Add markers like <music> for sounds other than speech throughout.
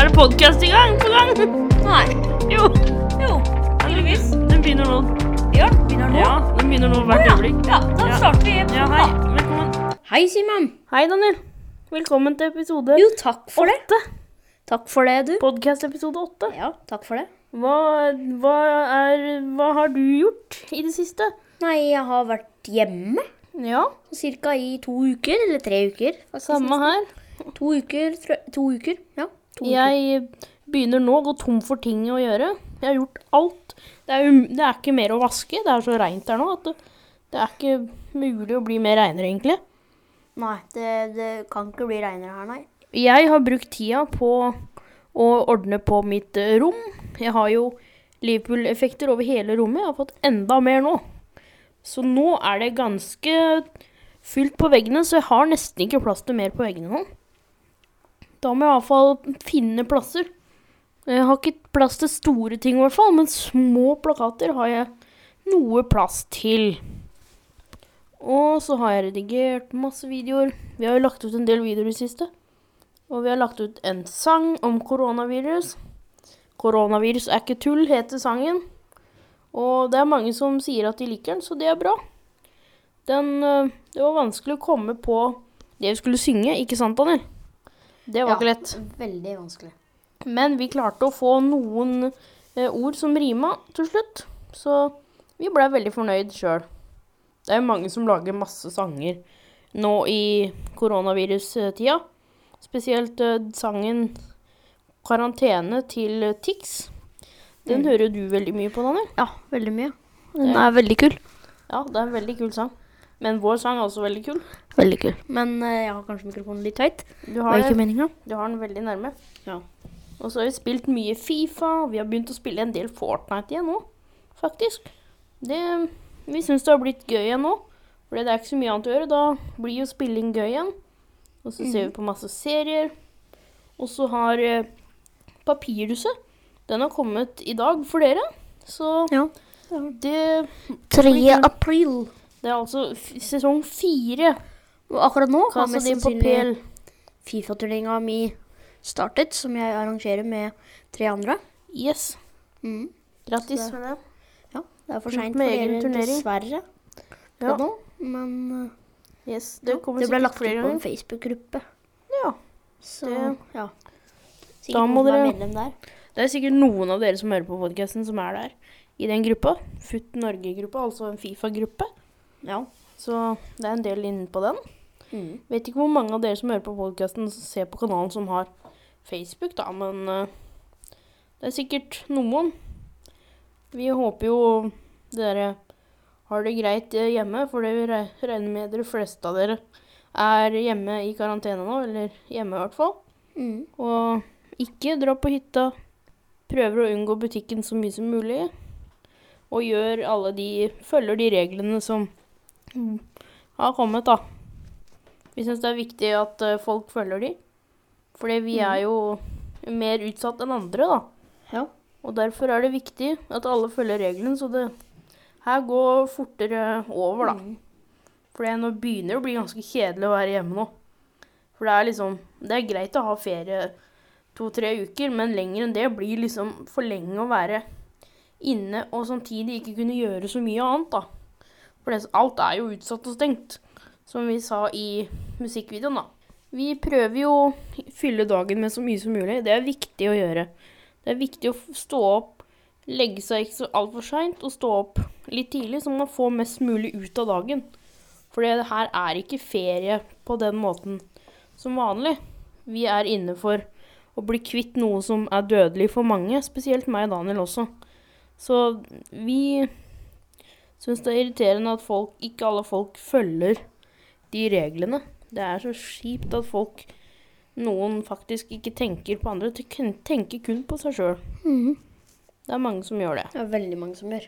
er podkast i gang på gang! <laughs> Nei. Jo. Jo, tydeligvis. Den begynner nå. Ja, begynner nå. Ja, den begynner nå Å hvert ja. øyeblikk. ja, da Ja. starter vi. Ja, hei. Velkommen. Hei, Simon. Hei, Daniel. Velkommen til episode Jo, takk for det. åtte. Takk for det, du. Podkast-episode åtte. Ja, takk for det. Hva, hva, er, hva har du gjort i det siste? Nei, jeg har vært hjemme Ja, cirka i to uker, eller tre uker. faktisk. samme her. To uker, tror jeg. To uker, ja. To Jeg begynner nå å gå tom for ting å gjøre. Jeg har gjort alt. Det er, um, det er ikke mer å vaske. Det er så reint der nå at det, det er ikke mulig å bli mer reinere, egentlig. Nei, det, kan ikke bli regnere her, nei. Jeg har brukt tida på å ordne på mitt eh, rom. Jeg har jo Liverpool-effekter over hele rommet. Jeg har fått enda mer nå. Så nå er det ganske fylt på veggene, så jeg har nesten ikke plass til mer på veggene nå. Da må jeg iallfall finne plasser. Jeg har ikke plass til store ting, i hvert fall, men små plakater har jeg noe plass til. Og så har jeg redigert masse videoer. Vi har jo lagt ut en del videoer i det siste. Og vi har lagt ut en sang om koronavirus. Koronavirus er ikke tull, heter sangen. Og det er mange som sier at de liker den, så det er bra. Den, øh, det var vanskelig å komme på det vi skulle synge, ikke sant, Daniel? Det var Ja. ikke lett. Veldig vanskelig. Men vi klarte å få noen eh, ord som rima til slutt, så vi ble veldig fornøyd sjøl. Det er jo mange som lager masse sanger nå i koronavirustida. Spesielt eh, sangen 'Karantene' til Tix. Den hører jo du veldig mye på, Daniel. Ja, veldig mye. Den er veldig kul. Ja, det er en veldig kul sang. Men vår sang er også veldig kul. Veldig kul. Men eh, jeg har kanskje mikrofonen litt høyt. Du Var har, ikke meninga. du har den veldig nærme. Ja. Og så har vi spilt mye Fifa, og vi har begynt å spille en del Fortnite igjen nå, faktisk. Det, vi syns det har blitt gøy igjen nå, for det er ikke så mye annet å gjøre. Da blir jo spilling gøy igjen. Og så Mhm. ser vi på masse serier. Og så har eh, Papirhuset Den har kommet i dag for dere. Så Ja. det, 3. Oi, kul. april. det er altså f sesong fire. Og akkurat nå har Casa mest de sannsynlig Papel. Fifa-turneringa mi startet, som jeg arrangerer med tre andre. Yes. Mm. Grattis Så- med det. Ja, det er for Kult seint for med egen dere, turnering. dessverre. Ja. Ja. Nå, men eh, Yes, det kommer det ble sikkert lagt ut flere på en ganger. Facebook-gruppe. Ja. Så Det- ja. Sikkert Da må noen som er dere- medlem der. Det er sikkert noen av dere som hører på podkasten, som er der i den gruppa. FUT Norge-gruppa, altså en Fifa-gruppe. Ja. Så det er en del innenpå den. Mm. Vet ikke hvor mange av dere som hører på podkasten, som ser på kanalen som har Facebook, da, men eh, det er sikkert noen. Vi håper jo dere har det greit eh, hjemme, for det vi re- regner med de fleste av dere er hjemme i karantene nå, eller hjemme i hvert fall. Mm. Og ikke dra på hytta. Prøver å unngå butikken så mye som mulig. Og gjør alle de Følger de reglene som mm, har kommet, da. Vi syns det er viktig at eh, folk følger de. Fordi vi er jo mer utsatt enn andre, da. Ja. Og derfor er det viktig at alle følger reglene, så det her går fortere over, da. Mm. For det- nå begynner det å bli ganske kjedelig å være hjemme nå. For det er liksom Det er greit å ha ferie to-tre uker, men lenger enn det blir liksom for lenge å være inne og samtidig ikke kunne gjøre så mye annet, da. For det, alt er jo utsatt og stengt, som vi sa i musikkvideoen, da. Vi prøver jo å fylle dagen med så mye som mulig. Det er viktig å gjøre. Det er viktig å f- stå opp, legge seg ikke så altfor seint, og stå opp litt tidlig, så man får mest mulig ut av dagen. For det her er ikke ferie på den måten som vanlig. Vi er inne for å bli kvitt noe som er dødelig for mange, spesielt meg og Daniel også. Så vi syns det er irriterende at folk, ikke alle folk følger de reglene. Det er så kjipt at folk noen faktisk ikke tenker på andre, de kun- tenker kun på seg sjøl. Mm. Det er mange som gjør det, Det er veldig mange som gjør.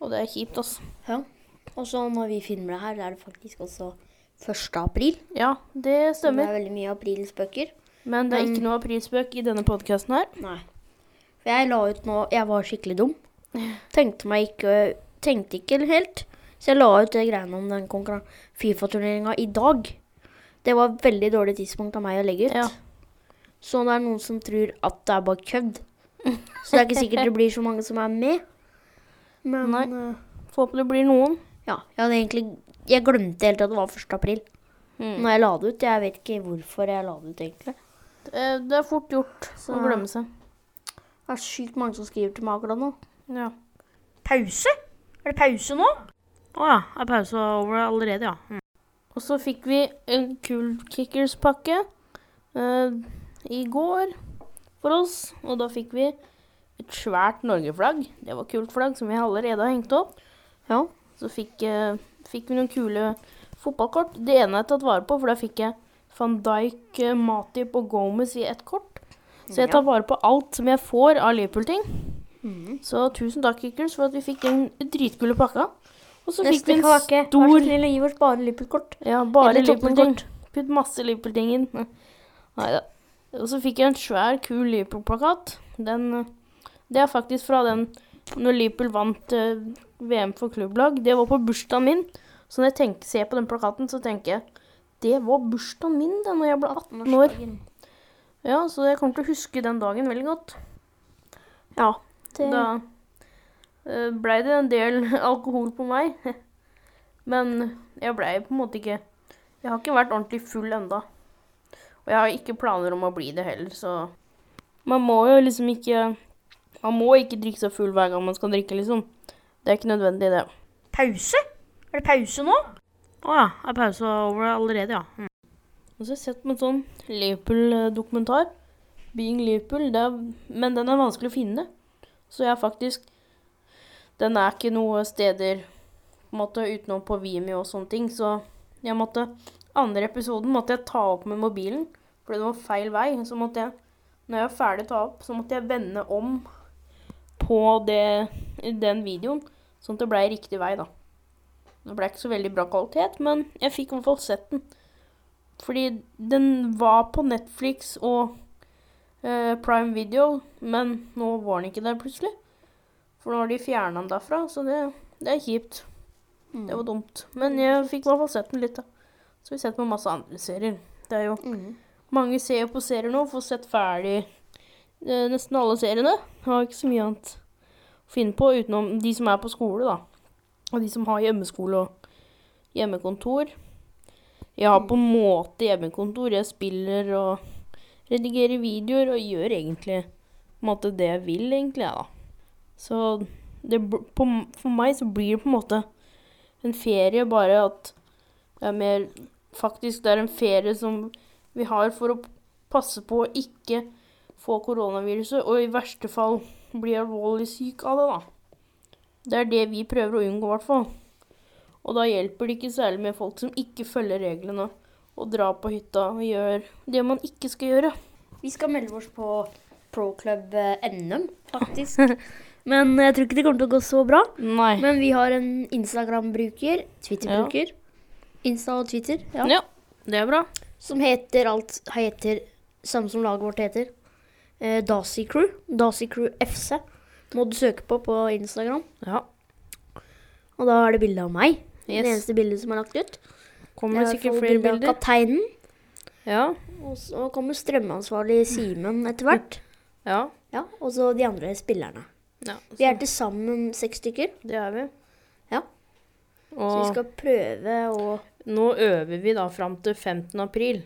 og det er kjipt, altså. Ja. Og så når vi filmer det her, er det faktisk også 1. april. Ja, det Så Det stemmer. er veldig mye aprilspøker. Men det er ikke noe aprilspøk i denne podkasten her. Nei. For jeg la ut nå Jeg var skikkelig dum. Tenkte meg ikke Tenkte ikke helt. Så jeg la ut det greiene om den konkurran- Fifa-turneringa i dag. Det var veldig dårlig tidspunkt av meg å legge ut. Ja. Så det er noen som tror at det er bare kødd. Så det er ikke sikkert det blir så mange som er med. Men Nei. eh, Forhåpentlig blir noen. ja, jeg hadde egentlig Jeg glemte helt at det var 1. april Mm. når jeg la det ut. Jeg vet ikke hvorfor jeg la det ut, egentlig. Eh, Det er fort gjort Så- å glemme seg. Det er sykt mange som skriver til meg akkurat nå. Ja. Pause? Er det pause nå? Å ja, er pausa over allerede, ja. Mm. Og så fikk vi en kul kickers-pakke eh, i går for oss. Og da fikk vi et svært Norge-flagg. Det var kult flagg som vi allerede har hengt opp. Ja. Så fikk, eh, fikk vi noen kule fotballkort. Det ene er tatt vare på, for da fikk jeg van Dijk, eh, Matip og Gomez i ett kort. Så jeg tar vare på alt som jeg får av Liverpool-ting. Mhm. Så tusen takk, Kickers, for at vi fikk den dritkule pakka. Og så fikk vi Neste en kake. Vær så stor snill å gi oss bare Liverpool-kort. Ja, bare Eller Liverpool-ting. Putt masse Liverpool-ting inn. <laughs> Nei da. Og så fikk jeg en svær, kul Liverpool-plakat. Den eh, Det er faktisk fra den når Liverpool vant eh, VM for klubblag. Det var på bursdagen min. Så når jeg tenker, ser på den plakaten, så tenker jeg Det var bursdagen min da når jeg ble 18 år. Ja, så jeg kommer til å huske den dagen veldig godt. Ja. Det... Da eh, blei det en del <laughs> alkohol på meg. <laughs> Men jeg blei på en måte ikke Jeg har ikke vært ordentlig full enda. Og jeg har ikke planer om å bli det heller, så Man må jo liksom ikke Man må ikke drikke seg full hver gang man skal drikke, liksom. Det er ikke nødvendig, det. Pause? Er det pause nå? Å ja. Er pausa over allerede, ja? Mm. Og så har jeg sett på en sånn Liverpool-dokumentar. Being Liverpool. Det er, men den er vanskelig å finne. Så jeg har faktisk Den er ikke noe steder på en måte utenom på Vimeo og sånne ting, så jeg måtte Andre episoden måtte jeg ta opp med mobilen, fordi det var feil vei. Så måtte jeg, når jeg var ferdig å ta opp, så måtte jeg vende om på det, den videoen, sånn at det ble riktig vei, da. Det ble ikke så veldig bra kvalitet, men jeg fikk i hvert fall sett den. Fordi den var på Netflix og eh, Prime Video, men nå var den ikke der plutselig. For nå har de fjerna den derfra, så det, det er kjipt. Det var dumt. Men jeg fikk i hvert fall sett den litt, da. Så har vi sett på masse andre serier. Det er jo Mm. mange ser jo på serier nå, får sett ferdig eh, nesten alle seriene. Har ikke så mye annet å finne på utenom de som er på skole, da. Og de som har hjemmeskole og hjemmekontor. Jeg har på en måte hjemmekontor. Jeg spiller og redigerer videoer og gjør egentlig på en måte det jeg vil, egentlig, jeg, da. Så det, bl- på, for meg så blir det på en måte en ferie, bare at det er mer Faktisk, det er en ferie som vi har for å passe på å ikke få koronaviruset, og i verste fall bli alvorlig syk av det, da. Det er det vi prøver å unngå, i hvert fall. Og da hjelper det ikke særlig med folk som ikke følger reglene og drar på hytta og gjør det man ikke skal gjøre. Vi skal melde oss på Pro Club eh, NM, <laughs> faktisk. Men jeg tror ikke det kommer til å gå så bra. Nei. Men vi har en Instagram-bruker, Twitter-bruker, Insta og Twitter, ja, ja. det er bra. som heter alt heter, samme som laget vårt heter, eh, Dasi Crew. Dasi Crew FC må du søke på på Instagram. Ja. Og da er det bilde av meg. Yes. Det eneste bildet som er lagt ut. Kommer det Jeg får sikkert flere bilde av bilder. Kapteinen. Ja. Og så kommer strømansvarlig Simen etter hvert. Ja. Ja, Og så de andre spillerne. ja. Vi er til sammen seks stykker, Det er vi. Ja. så vi Og skal prøve å nå øver vi da fram til 15. april,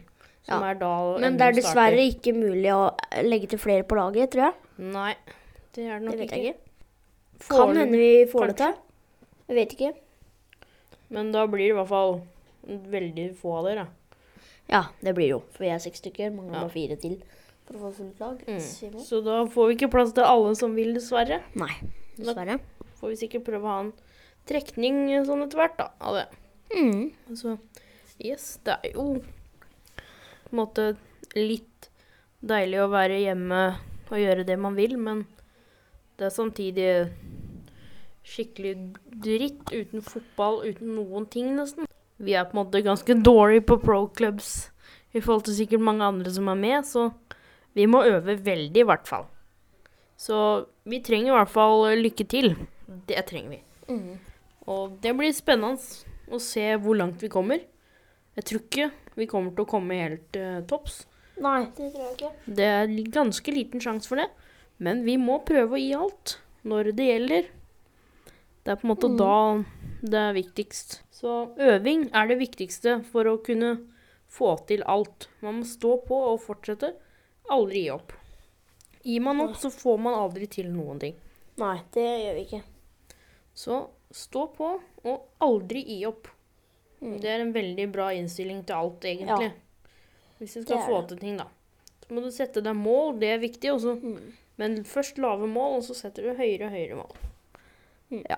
som Ja. er da Men det er NM dessverre starter. ikke mulig å legge til flere på laget, tror jeg. Nei, det er det Det nok vet jeg ikke. ikke. Kan hende vi får det kanskje. til. Jeg vet ikke. Men da blir det i hvert fall veldig få av dere. Ja, det blir jo. For vi er seks stykker. Ja. Mangler bare fire til for å få fullt lag. Simon? Så da får vi ikke plass til alle som vil, dessverre. Nei, dessverre. Får vi sikkert prøve å ha en trekning eh, sånn etter hvert, da. Av det. Mm. Altså, yes, det er jo på en måte litt deilig å være hjemme og gjøre det man vil, men det er samtidig skikkelig dritt uten fotball, uten noen ting, nesten. Vi er på en måte ganske dårlige på pro clubs i forhold til sikkert mange andre som er med, så vi må øve veldig, i hvert fall. Så vi trenger i hvert fall lykke til. Det trenger vi. Mm. Og det blir spennende å se hvor langt vi kommer. Jeg tror ikke vi kommer til å komme helt eh, topps, Nei, det tror jeg ikke. Det er li- ganske liten sjanse for det, men vi må prøve å gi alt når det gjelder. Det er på en måte Mm. da det er viktigst. Så øving er det viktigste for å kunne få til alt. Man må stå på og fortsette. Aldri gi opp. Gir man opp, så får man aldri til noen ting. Nei, det gjør vi ikke. Så stå på og aldri gi opp. Mm. Det er en veldig bra innstilling til alt, egentlig. Hvis du skal det er få det. til ting, da. Så må du sette deg mål, det er viktig. Også. Men først lave mål, og så setter du høyere og høyere mål. Mm. Ja.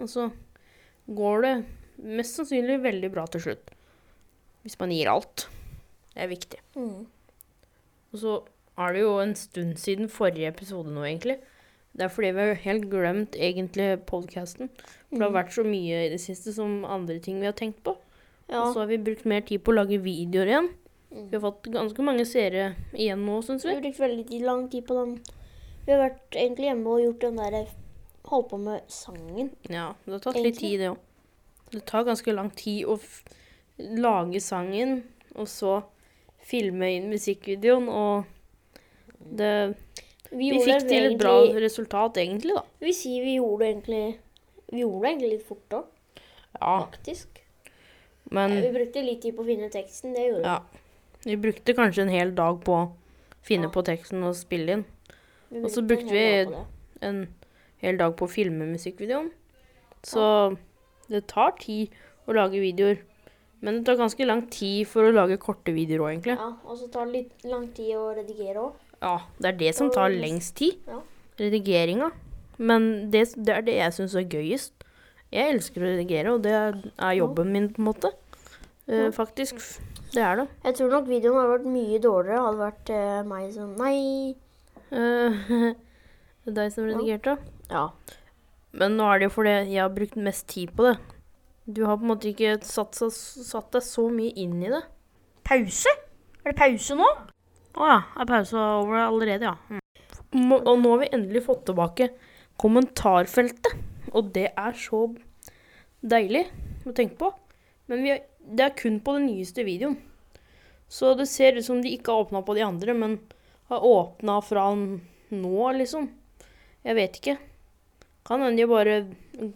Og så går det mest sannsynlig veldig bra til slutt. Hvis man gir alt. Det er viktig. Mm. Og så er det jo en stund siden forrige episode nå, egentlig. Det er fordi vi har helt glemt egentlig podkasten. For det har Mm. vært så mye i det siste som andre ting vi har tenkt på. Ja. Og så har vi brukt mer tid på å lage videoer igjen. Mm. Vi har fått ganske mange seere igjen nå, syns Vi vi. har brukt veldig tid- lang tid på den. Vi har vært egentlig hjemme og gjort den der Holdt på med sangen. Ja, det har tatt litt Egentlig. tid, det òg. Det tar ganske lang tid å f lage sangen, og så filme inn musikkvideoen, og det Vi, Vi gjorde fikk det til et bra egentlig- resultat, egentlig, da. Vi sier vi gjorde det egentlig Vi gjorde det egentlig litt fort òg, Ja, faktisk. men Vi brukte litt tid på å finne teksten. Det gjorde vi. Ja. Vi brukte kanskje en hel dag på å finne Ja. på teksten og spille inn. vi. og så en brukte hel vi- dag på det. En hel dag på å filme musikkvideoen. Så det tar tid å lage videoer. Men det tar ganske lang tid for å lage korte videoer òg, egentlig. Ja, Og så tar det litt lang tid å redigere òg. Ja, det er det som tar lengst tid. Ja. Redigeringa. Men det, det er det jeg syns er gøyest. Jeg elsker å redigere, og det er jobben min, på en måte. Eh, Ja. faktisk. Det er det. Jeg tror nok videoen hadde vært mye dårligere hadde vært eh, meg som Nei. Eh, <laughs> det er deg som redigerte? Ja. Men nå er det jo fordi jeg har brukt mest tid på det. Du har på en måte ikke satt, så- satt deg så mye inn i det. Pause? Er det pause nå? Å ja, er pausa over allerede, ja. Mm. Må- Og nå har vi endelig fått tilbake kommentarfeltet. Og det er så deilig å tenke på. Men vi er, det er kun på den nyeste videoen. Så det ser ut som de ikke har åpna på de andre, men har åpna fra n- nå, liksom. Jeg vet ikke. Kan hende de bare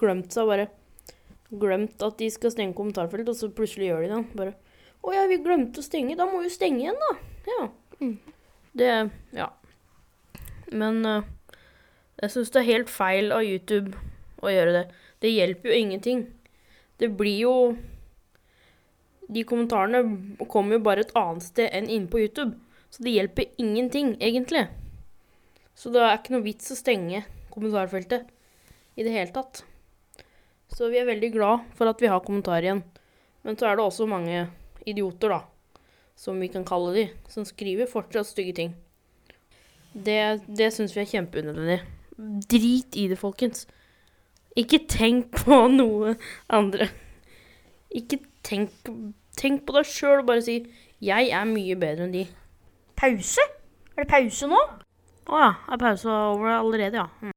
glemt seg, bare glemt at de skal stenge kommentarfeltet, og så plutselig gjør de det. Bare 'Å ja, vi glemte å stenge. Da må vi jo stenge igjen, da.' Ja. Det Ja. Men eh, jeg syns det er helt feil av YouTube å gjøre det. Det hjelper jo ingenting. Det blir jo De kommentarene kommer jo bare et annet sted enn inne på YouTube. Så det hjelper ingenting, egentlig. Så det er ikke noe vits å stenge kommentarfeltet i det hele tatt. Så vi er veldig glad for at vi har kommentar igjen. Men så er det også mange idioter, da som vi kan kalle de, som skriver fortsatt stygge ting. Det, det syns vi er kjempeunødvendig. Drit i det, folkens. Ikke tenk på <laughs> noe andre. Ikke tenk, tenk på deg sjøl og bare si 'jeg er mye bedre enn de'. Pause? Er det pause nå? Å ja, er pausa over allerede, ja. Mm.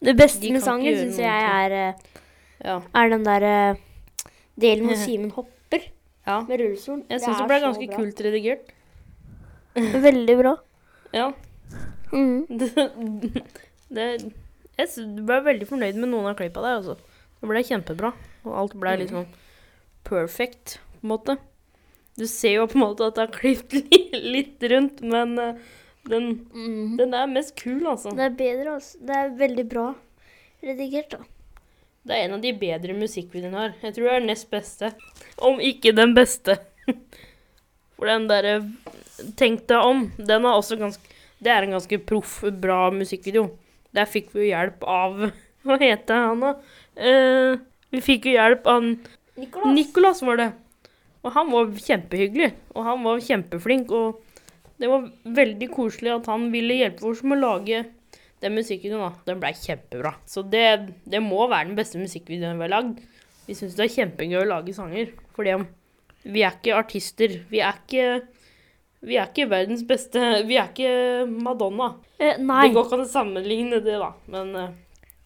Det beste De med kan ikke sangen gjøre syns noen jeg er, eh, ja. er den der eh, delen <laughs> hvor Simen hopper ja. med rullestolen. Jeg syns det er ble så ganske bra. kult redigert. Veldig bra. Ja. <laughs> Mm. Det, det, jeg sy- ble veldig fornøyd med noen av klippa der. Altså. Det ble kjempebra. Og alt ble litt Mm. sånn perfect, på en måte. Du ser jo på en måte at det er klippet <laughs> li- litt rundt, men eh, den, Mm. den er mest kul, altså. Det er bedre, altså. Det er veldig bra redigert, da. Det er en av de bedre musikkvideoene jeg har. Jeg tror det er den nest beste. Om ikke den beste. <laughs> For den derre Tenk deg om. Den er også ganske Det er en ganske proff, bra musikkvideo. Der fikk vi jo hjelp av <laughs> Hva heter han, da? Eh, vi fikk jo hjelp av Nicolas. Nicolas, var det. Og han var kjempehyggelig. Og han var kjempeflink. Og det var veldig koselig at han ville hjelpe oss med å lage den musikkvideoen. da. Den blei kjempebra. Så det, det må være den beste musikkvideoen vi har lagd. Vi syns det er kjempegøy å lage sanger. Fordi om- vi er ikke artister. Vi er ikke vi er ikke verdens beste Vi er ikke Madonna. Eh, nei. Det går ikke an å sammenligne det, da. Men eh,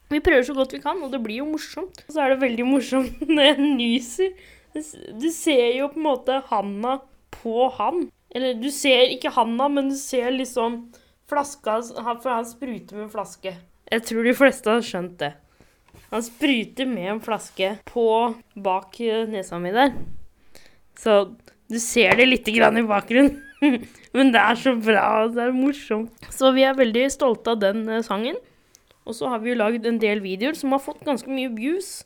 vi prøver så godt vi kan, og det blir jo morsomt. Og så er det veldig morsomt <laughs> når jeg nyser. Du s- Du ser jo på en måte handa på han. Eller du ser ikke handa, men du ser liksom flaska hans- han- For han spruter med en flaske. Jeg tror de fleste har skjønt det. Han spruter med en flaske på bak eh, nesa mi der. Så du ser det lite grann i bakgrunnen. <laughs> Men det er så bra, og det er morsomt. Så vi er veldig stolte av den eh, sangen. Og så har vi jo lagd en del videoer som har fått ganske mye views.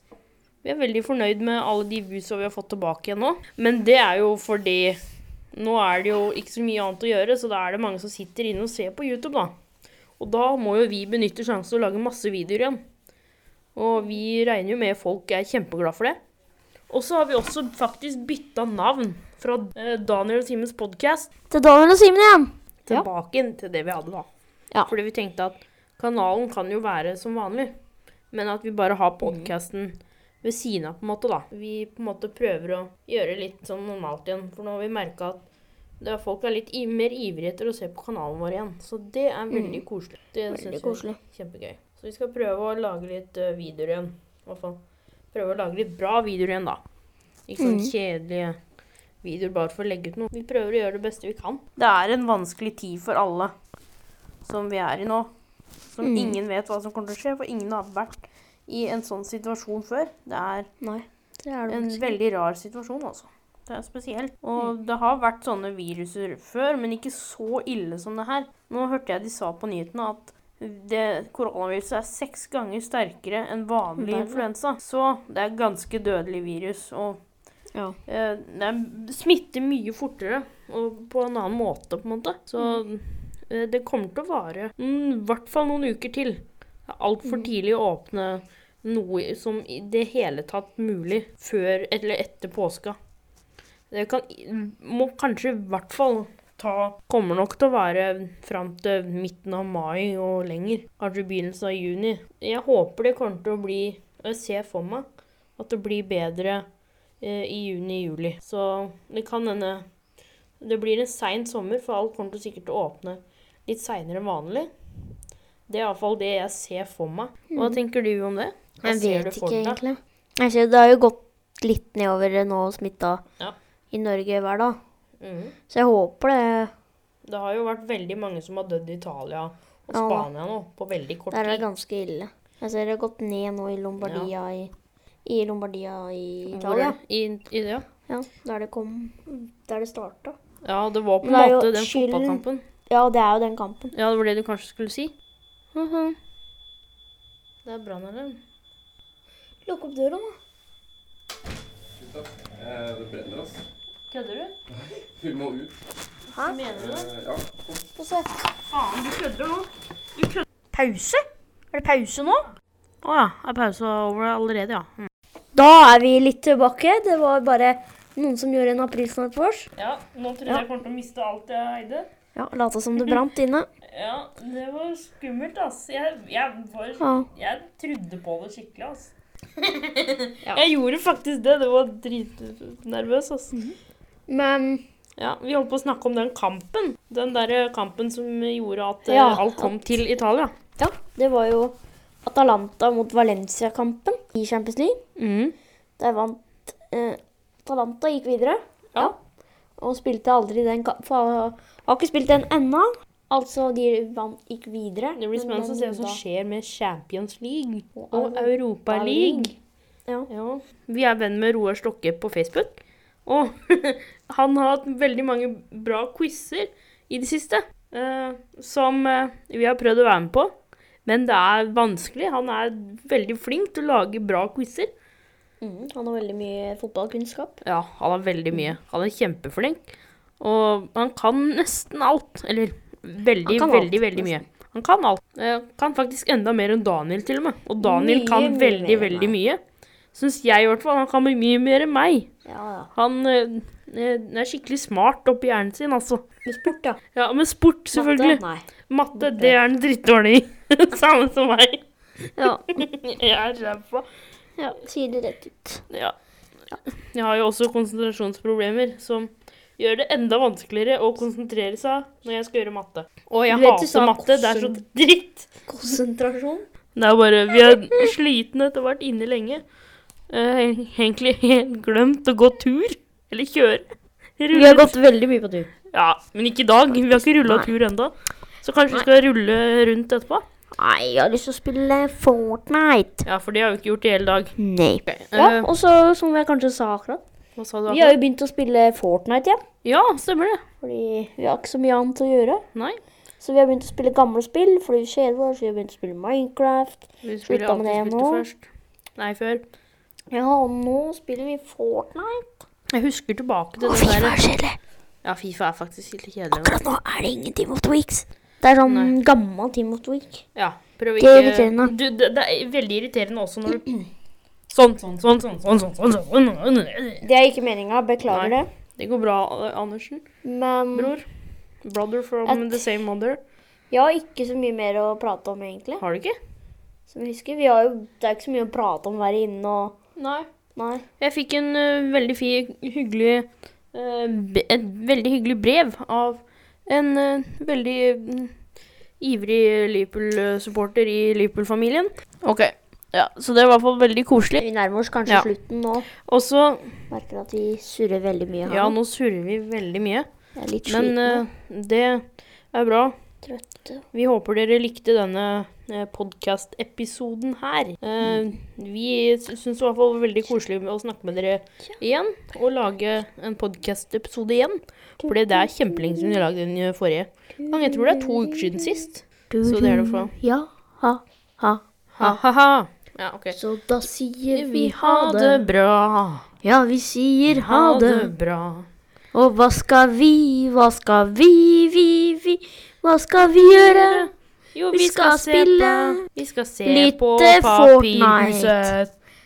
Vi er veldig fornøyd med alle de viewsa vi har fått tilbake igjen nå. Men det er jo fordi nå er det jo ikke så mye annet å gjøre, så da er det mange som sitter inne og ser på YouTube, da. Og da må jo vi benytte sjansen til å lage masse videoer igjen. Og vi regner jo med folk er kjempeglad for det. Og så har vi også faktisk bytta navn fra eh, Daniel og Simens podkast Til Daniel og Simen igjen. Ja. tilbake inn til det vi hadde da. Ja. Fordi vi tenkte at kanalen kan jo være som vanlig, men at vi bare Mm. har podkasten ved siden av, på en måte, da. Vi på en måte prøver å gjøre litt sånn normalt igjen, for nå har vi merka at det er folk er litt i, mer ivrige etter å se på kanalen vår igjen. Så det er veldig koselig. Det synes Mm. Veldig jeg- koselig. Kjempegøy. Så vi skal prøve å lage litt eh, videoer igjen. I hvert fall prøve å lage litt bra videoer igjen, da. Ikke sånn Mm. kjedelige videoer bare for å legge ut noe. Vi prøver å gjøre det beste vi kan. Det er en vanskelig tid for alle som vi er i nå. Som Mm. ingen vet hva som kommer til å skje, for ingen har vært i en sånn situasjon før. Det er Nei, det er det en faktisk. veldig rar situasjon, altså. Det er spesielt. Mm. Og det har vært sånne viruser før, men ikke så ille som det her. Nå hørte jeg de sa på nyhetene at det, koronaviruset er seks ganger sterkere enn vanlig Verre. influensa. Så det er ganske dødelig virus. Og Ja. eh, det er- smitter mye fortere og på en annen måte, på en måte. Så Mm. eh, det kommer til å vare mm, i hvert fall noen uker til. Det er Mm. altfor tidlig å åpne noe som i det hele tatt mulig før eller etter påska. Det kan, må kanskje i hvert fall ta Kommer nok til å være fram til midten av mai og lenger. Kanskje begynnelsen av juni. Jeg håper det kommer til å bli og Jeg ser for meg at det blir bedre eh, i juni-juli. Så det kan hende Det blir en sein sommer, for alt kommer til sikkert til å åpne litt seinere enn vanlig. Det er iallfall det jeg ser for meg. Hva tenker du om det? Hva Mm. Jeg ser vet du for ikke deg? egentlig. Jeg ser, det har jo gått litt nedover nå smitta Ja. i Norge hver dag. Mhm. Så jeg håper det Det har jo vært veldig mange som har dødd i Italia og Ja. Spania nå, på veldig kort Der er det tid. ganske ille. Jeg ser det har gått ned nå i Lombardia i, i, Lombardia i Hvor Italia. er- I, i, ja. Ja, der det kom Der det starta. ja, det var på en Men det er jo måte den skylden- fotballkampen. Ja, det er jo den kampen. Ja, det var det du kanskje skulle si. Mhm. Det er brannalarm. Lukk opp døra, da. Eh, Det brenner, ass. Kødder du? Vi må ut. Hæ? Mener du det? Eh, Ja. Få se. Faen, du kødder nå. Pause? Er det pause nå? Å ja, er pausen over allerede, ja. Mm. Da er vi litt tilbake. Det var bare noen som gjorde en aprilsnarr på oss. Ja, nå trodde Ja. jeg kommer til å miste alt jeg eide. Ja, Lata som det brant inne. Ja, det var skummelt, ass. Jeg, jeg, var, Ja. jeg trodde på det skikkelig, ass. Jeg gjorde faktisk det. Det var dritnervøs, ass. Mhm. Men Ja, Vi holdt på å snakke om den kampen. Den derre kampen som gjorde at eh, Ja. alt kom til Italia. ja, det var jo Atalanta mot Valencia-kampen i Champions League. Der vant eh, Atalanta gikk videre. Ja. Og spilte aldri den kampen. Har ikke spilt den ennå. Altså, de vant, gikk videre. Det blir men spennende å se den hva som da- skjer med Champions League Og og Europa League. Ja. Ja. Vi er venn med Roar Stokke på Facebook, og <laughs> han har hatt veldig mange bra quizer i det siste. eh, som eh, vi har prøvd å være med på, men det er vanskelig. Han er veldig flink til å lage bra quizer. Mm, han har veldig mye fotballkunnskap. Ja, han har veldig mye. Han er kjempeflink. Og han kan nesten alt. Eller veldig, Han kan alt, veldig, veldig mye. Han kan alt. Eh, Kan faktisk enda mer enn Daniel, til og med. Og Daniel Mye, kan mye veldig, mer enn veldig mye. Syns jeg, i hvert fall. Han kan mye mer enn meg. Ja, ja. Han eh, eh, er skikkelig smart oppi hjernen sin, altså. Med sport, ja. Ja, men sport, selvfølgelig. Matte? Matte, det er han drittdårlig i. <laughs> Samme som meg. Ja. Jeg er ræva. ja. Sier det rett ut. Ja. Jeg har jo også konsentrasjonsproblemer, som gjør det enda vanskeligere å konsentrere seg når jeg skal gjøre matte. Og jeg Du vet du sa hater matte. Det er så konsent- dritt. Konsentrasjon. Det er bare Vi er slitne etter å ha vært inne lenge. Eh, egentlig helt glemt å gå tur. Eller kjøre. Vi har Rulle, gått veldig mye på tur. Ja, men ikke i dag. Vi har ikke rulla Nei. tur ennå. Så kanskje vi skal rulle rundt etterpå? Nei, jeg har lyst til å spille Fortnite. Ja, for det har vi ikke gjort i hele dag. Nei. Eh, Ja, og så, som jeg kanskje sa akkurat, Hva sa du? vi har jo begynt å spille Fortnite igjen. Ja, stemmer det. Fordi vi har ikke så mye annet å gjøre. Nei. Så vi har begynt å spille gamle spill fordi vi kjeder oss. Vi har begynt å spille Minecraft. Vi skulle Slutta alltid med det spilt det nå. først. Nei, før. Ja, og nå spiller vi Fortnite. Jeg husker tilbake til Og det Fifa der er kjedelig. Ja, Fifa er faktisk litt kjedelig. Akkurat nå er det ingen Team of the Weeks. Det er sånn Nei. gammel Team of the Week. Ja, prøv Det ikke er irriterende. Du, det, det er veldig irriterende også når du Sånn, sånn, sånn, sånn, sånn, sånn, sånn, sånn, sånn. Det er ikke meninga, beklager Nei. Det går bra, eh, Andersen. det. Men Bror. Brother from Et- the same mother. jeg har ikke så mye mer å prate om, egentlig. Har du ikke? Som jeg husker, vi har jo, Det er ikke så mye å prate om å være inne og Nei. Nei. Jeg fikk en ø, veldig fin, hyggelig ø, b- Et veldig hyggelig brev av en ø, veldig ø, ivrig Liverpool-supporter i Liverpool-familien. Ok. Ja, Så det var i hvert fall veldig koselig. Vi nærmer oss kanskje Ja. slutten nå. Og så Merker at vi surrer veldig mye her. Ja, nå surrer vi veldig mye. Jeg er litt Men eh, sliten. ø, det er bra. Trøtte. Vi håper dere likte denne eh, podcast-episoden her. Eh, Vi sy- syns det var i hvert fall veldig koselig med å snakke med dere igjen. Og lage en podcast-episode igjen. For det er kjempelenge siden vi lagde den eh, forrige gang. Jeg tror det er to uker siden sist. Så det er det for Ja, ha, ha. Ha-ha-ha. Ja, ok. Så da sier Vi ha det bra. Ja, vi sier Ha det bra. Og hva skal vi, hva skal vi, vi, vi, hva skal vi gjøre? Jo, Vi skal se spille på- Vi skal se Lytte på Fortnite. Papirhuset.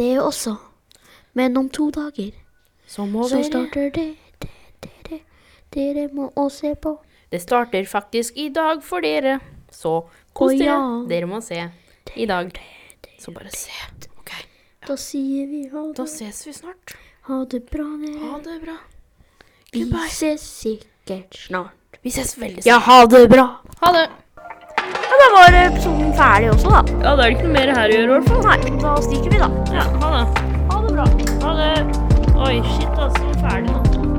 Det også. Men om to dager Så må så dere starter det, det, det, det. Dere må også se på. Det starter faktisk i dag for dere. Så kos Å, dere. ja. Dere må se i dag. Så bare se. Ok, Da sier vi ha Da det, ses vi snart. ha det bra, Ha dere. det bra. Vi Goodbye. ses sikkert snart. Vi ses veldig Ja, snart. ha det bra. Ha det. Ja, da var episoden ferdig også, da. Ja, da er det ikke noe mer her å gjøre, i hvert fall. Nei, da stikker vi, da. Ja, ha det. Ha det bra. Ha det. Oi, shit, altså. Ferdig nå.